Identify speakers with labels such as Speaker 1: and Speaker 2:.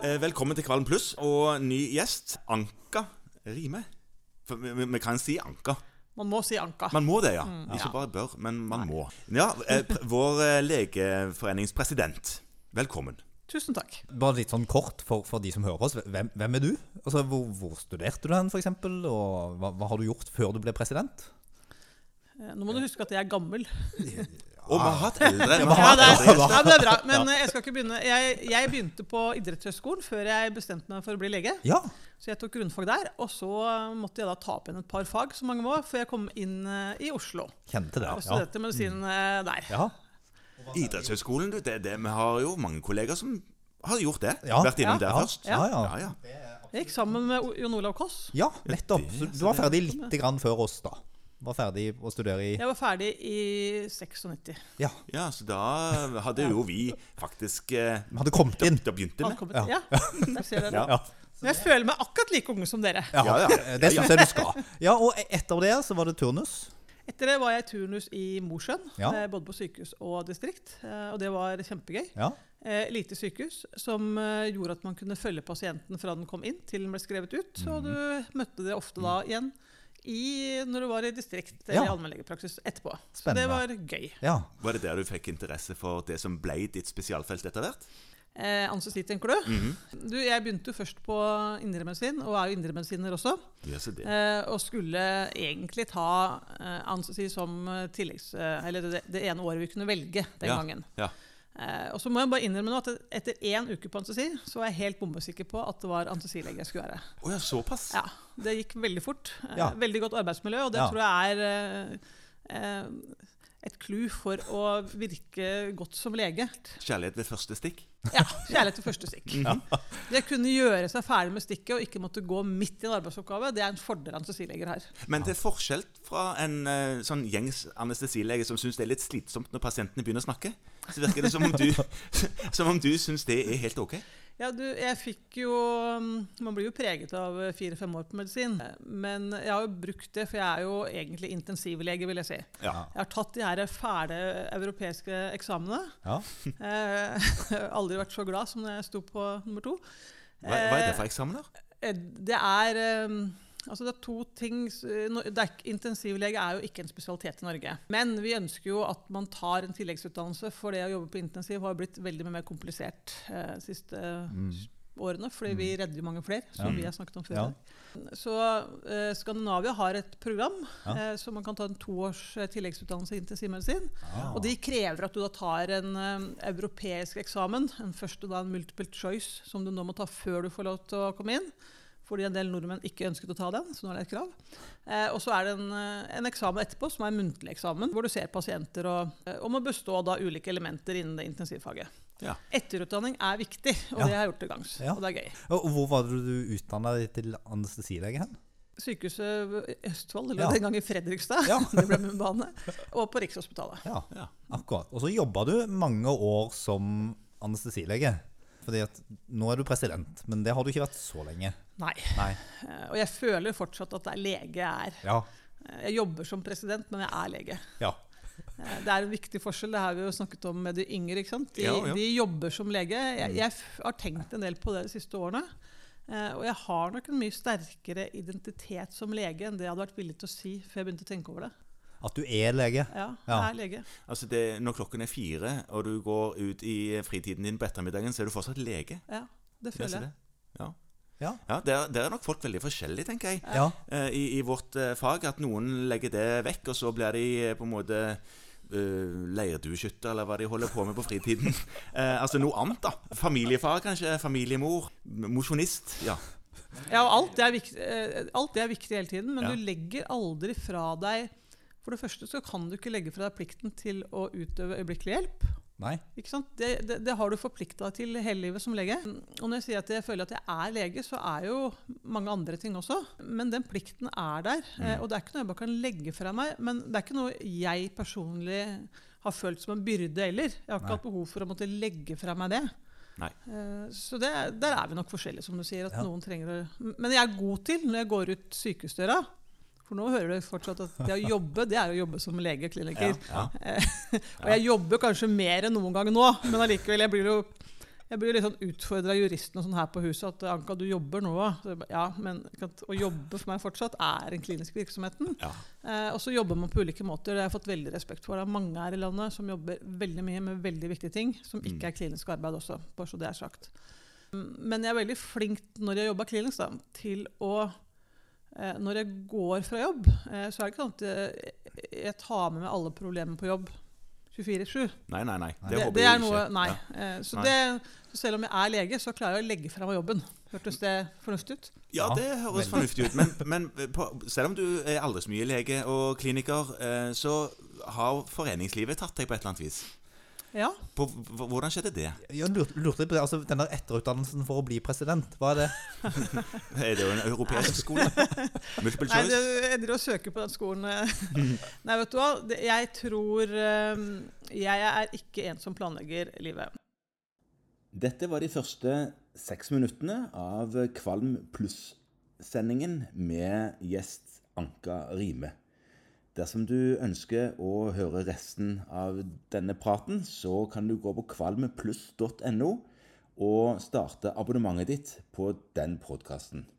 Speaker 1: Eh, Velkommen til Kvalm Pluss og ny gjest, Anka Rime. For vi, vi- vi kan si Anka.
Speaker 2: Man må si Anka.
Speaker 1: Man må det, ja. Ikke
Speaker 2: Mm. ja.
Speaker 1: bare bør, men man må. Ja, eh, pr- Vår eh, legeforeningspresident, velkommen.
Speaker 2: Tusen takk.
Speaker 3: Bare litt sånn kort for, for de som hører på oss. Hvem, hvem er du? Altså, hvor, hvor studerte du hen, f.eks.? Og hva, hva har du gjort før du ble president?
Speaker 2: Eh, Nå må du huske at jeg er gammel.
Speaker 1: Og vi har hatt eldre. vi har
Speaker 3: vi
Speaker 2: Ja, det
Speaker 1: hatt
Speaker 2: er,
Speaker 1: eldre gjester.
Speaker 2: ja, men det er bra. Men eh, jeg skal ikke begynne. Jeg, jeg begynte på idrettshøyskolen før jeg bestemte meg for å bli lege.
Speaker 3: Ja.
Speaker 2: Så jeg tok grunnfag der. Og så eh, måtte jeg da ta opp igjen et par fag, som mange må, før jeg kom inn eh, i Oslo.
Speaker 3: Kjente det.
Speaker 2: Og
Speaker 3: Ja.
Speaker 2: studerte medisin eh, der.
Speaker 3: ja.
Speaker 1: Idrettshøgskolen, du. Det, det, vi har jo mange kolleger som har gjort det.
Speaker 3: Ja.
Speaker 1: Vært innom
Speaker 2: Ja.
Speaker 1: der
Speaker 3: Ja.
Speaker 1: først.
Speaker 3: Ja, ja.
Speaker 1: Ja, ja.
Speaker 2: Jeg gikk sammen med O- Jon Olav Koss.
Speaker 3: ja, nettopp. Så du var ferdig litt grann før oss, da. Var ferdig å studere i
Speaker 2: Jeg var ferdig i 96.
Speaker 3: Ja.
Speaker 1: ja, så da hadde jo vi faktisk eh,
Speaker 3: Vi hadde kommet inn.
Speaker 1: Da begynte vi.
Speaker 2: Ankommet. Ja, der ser dere.
Speaker 3: Ja.
Speaker 2: Men jeg føler meg akkurat like ung som dere.
Speaker 3: Ja,
Speaker 1: Ja, ja.
Speaker 3: Det syns jeg du skal. Ja, Og e- etter det så var det turnus.
Speaker 2: Etter det var jeg i turnus i Mosjøen,
Speaker 3: Ja.
Speaker 2: eh, både på sykehus og distrikt. eh, Og det var kjempegøy.
Speaker 3: Ja.
Speaker 2: Eh, lite sykehus som eh, gjorde at man kunne følge pasienten fra den kom inn til den ble skrevet ut. Og du møtte det ofte da igjen i, når du var i distrikt eller
Speaker 3: Ja.
Speaker 2: i allmennlegepraksis etterpå. Så
Speaker 3: Spennende.
Speaker 2: det var gøy.
Speaker 3: ja.
Speaker 1: Var det der du fikk interesse for det som ble ditt spesialfelt etter hvert? Mhm.
Speaker 2: Eh, Anestesi, tenker du? du? Jeg begynte jo først på indremedisin, og er jo indremedisiner også.
Speaker 1: Ja, så det.
Speaker 2: Eh, og skulle egentlig ta eh, anestesi som eh, tilleggs... Eh, eller det, det ene året vi kunne velge den
Speaker 1: ja.
Speaker 2: gangen.
Speaker 1: Ja.
Speaker 2: Eh, og så må jeg bare innrømme nå at etter én uke på anestesi, så var jeg helt bombesikker på at det var anestesilege jeg skulle være.
Speaker 1: Å ja, såpass?
Speaker 2: Ja, Det gikk veldig fort. Eh,
Speaker 3: Ja.
Speaker 2: Veldig godt arbeidsmiljø, og det
Speaker 3: Ja.
Speaker 2: tror jeg er eh, eh, et clou for å virke godt som lege.
Speaker 1: Kjærlighet ved første stikk?
Speaker 2: Ja, Kjærlighet til første stikk. Det å kunne gjøre seg ferdig med stikket og ikke måtte gå midt i en arbeidsoppgave, det er en fordel anestesileger har.
Speaker 1: Men til forskjell fra en eh, sånn gjengs anestesilege som syns det er litt slitsomt når pasientene begynner å snakke, så virker det som om du, som om du syns det er helt ok.
Speaker 2: Ja, du, jeg fikk jo mm, Man blir jo preget av eh, fire-fem år på medisin. eh, Men jeg har jo brukt det, for jeg er jo egentlig intensivlege, vil jeg si. Jeg
Speaker 1: Ja.
Speaker 2: har tatt de her fæle europeiske eksamenene.
Speaker 3: ja.
Speaker 2: Eh, aldri vært så glad som da jeg sto på nummer to.
Speaker 1: Hva, hva er det for eksamener?
Speaker 2: Eh, Det er eh, Altså det er to ting s- eh, no- det er, ikke- Intensivlege er jo ikke en spesialitet i Norge. Men vi ønsker jo at man tar en tilleggsutdannelse, for det å jobbe på intensiv har blitt veldig mye mer komplisert eh, de siste
Speaker 3: Mm.
Speaker 2: s- årene. Fordi vi
Speaker 1: Mm.
Speaker 2: redder jo mange flere, som vi har snakket om før.
Speaker 3: Ja.
Speaker 2: i dag. Så eh, Skandinavia har et program,
Speaker 3: Ja.
Speaker 2: eh, så man kan ta en toårs eh, tilleggsutdannelse i intensivmedisin. Og de krever at du da tar en eh, europeisk eksamen, en første da en multiple choice, som du nå må ta før du får lov til å komme inn. Fordi en del nordmenn ikke ønsket å ta den, så nå er det et krav. Eh, og så er det en, eh, en eksamen etterpå, som er en muntlig eksamen, hvor du ser pasienter og, eh, og må bestå da ulike elementer innen det intensivfaget.
Speaker 1: Ja.
Speaker 2: Etterutdanning er viktig, og
Speaker 3: Ja.
Speaker 2: det har jeg gjort til gangs.
Speaker 3: Ja.
Speaker 2: Og det er gøy.
Speaker 3: Og hvor var det du utdanna deg til anestesilege hen?
Speaker 2: Sykehuset i Østfold, eller
Speaker 3: Ja.
Speaker 2: den gang i Fredrikstad,
Speaker 3: Ja.
Speaker 2: det ble min bane, og på Rikshospitalet.
Speaker 3: Ja.
Speaker 1: Ja.
Speaker 3: Akkurat. Og så jobba du mange år som anestesilege. Fordi at nå er du president, men det har du ikke vært så lenge.
Speaker 2: Nei.
Speaker 3: Nei.
Speaker 2: Eh, og jeg føler fortsatt at det er lege jeg er.
Speaker 3: Ja.
Speaker 2: Eh, Jeg jobber som president, men jeg er lege.
Speaker 3: Ja.
Speaker 2: Eh, Det er en viktig forskjell. Det har vi jo snakket om med de yngre. ikke sant? De,
Speaker 1: Ja, Mm. ja.
Speaker 2: de jobber som lege. Jeg, jeg f- har tenkt en del på det de siste årene. eh, Og jeg har nok en mye sterkere identitet som lege enn det jeg hadde vært villig til å si før jeg begynte å tenke over det.
Speaker 3: At du er lege.
Speaker 2: Ja, jeg
Speaker 3: Ja.
Speaker 2: er lege.
Speaker 1: Altså det, når klokken er fire, og du går ut i fritiden din på ettermiddagen, så er du fortsatt lege.
Speaker 2: Ja, det
Speaker 1: Leser
Speaker 2: føler jeg.
Speaker 1: det. Ja.
Speaker 3: Ja.
Speaker 1: Ja, der, der er nok folk veldig forskjellige, tenker jeg.
Speaker 3: Ja.
Speaker 1: eh, i, i vårt eh, fag. At noen legger det vekk, og så blir de eh, på en måte Uh, Leirdueskytter, eller hva de holder på med på fritiden. Eh, altså noe annet, da. Familiefar, kanskje. Familiemor. M- Mosjonist. Ja.
Speaker 2: Ja, og alt det er viktig, eh, alt det er viktig hele tiden, men
Speaker 1: Ja.
Speaker 2: du legger aldri fra deg For det første så kan du ikke legge fra deg plikten til å utøve øyeblikkelig hjelp.
Speaker 3: Nei.
Speaker 2: Ikke sant? Det, det, det har du forplikta deg til hele livet som lege. Og når jeg sier at jeg føler at jeg er lege, så er jo mange andre ting også. Men den plikten er der. eh, Og det er ikke noe jeg bare kan legge fra meg. Men det er ikke noe jeg personlig har følt som en byrde heller. Jeg har ikke
Speaker 3: Nei.
Speaker 2: hatt behov for å måtte legge fra meg det.
Speaker 1: Nei.
Speaker 2: Eh, Så det, der er vi nok forskjellige, som du sier. at
Speaker 3: Ja.
Speaker 2: noen trenger å... Men jeg er god til, når jeg går ut sykehusdøra For nå hører du fortsatt at det å jobbe, det er å jobbe som legekliniker.
Speaker 1: Ja, ja.
Speaker 2: Og jeg jobber kanskje mer enn noen gang nå, men allikevel, jeg blir jo Jeg blir litt sånn utfordra av juristen og sånn her på huset at Anka, du jobber nå. Så jeg ba, Ja, men ikke sant, å jobbe for meg fortsatt er den kliniske virksomheten.
Speaker 1: Ja.
Speaker 2: Eh, og så jobber man på ulike måter. Det har jeg fått veldig respekt for. Det er mange her i landet som jobber veldig mye med veldig viktige ting, som
Speaker 1: Mm.
Speaker 2: ikke er klinisk arbeid også, bare så det er sagt. Mm, Men jeg er veldig flink når jeg jobber klinisk, da, til å eh, Når jeg går fra jobb, eh, så er det ikke sånn at jeg, jeg tar med meg alle problemer på jobb 24-7.
Speaker 1: Nei, nei, nei. Det,
Speaker 2: Det,
Speaker 1: håper
Speaker 2: det
Speaker 1: jeg
Speaker 2: er noe,
Speaker 1: ikke.
Speaker 2: nei.
Speaker 1: Ja.
Speaker 2: Eh, Så,
Speaker 1: Nei.
Speaker 2: Det, så selv om jeg er lege, så klarer jeg å legge fra meg jobben. Hørtes det fornuftig ut?
Speaker 1: Ja,
Speaker 3: Ja,
Speaker 1: det høres
Speaker 3: veldig.
Speaker 1: fornuftig ut. Men, men på, selv om du er aldri så mye lege og kliniker, eh, så har foreningslivet tatt deg på et eller annet vis.
Speaker 2: Ja.
Speaker 1: På, hv- hvordan skjedde det?
Speaker 3: Jeg lurte, lurte litt på det. Altså, den der etterutdannelsen for å bli president, hva er det?
Speaker 1: Er det jo en europeisk skole? Multiple
Speaker 2: Nei, du
Speaker 1: choice?
Speaker 2: jeg driver og søker på den skolen. eh. Nei, vet du hva. Det- Jeg tror eh, Jeg er ikke en som planlegger livet.
Speaker 1: Dette var de første seks minuttene av Kvalm pluss-sendingen med gjest Anka Rime. Dersom du ønsker å høre resten av denne praten, så kan du gå på kvalmpluss.no og starte abonnementet ditt på den podkasten.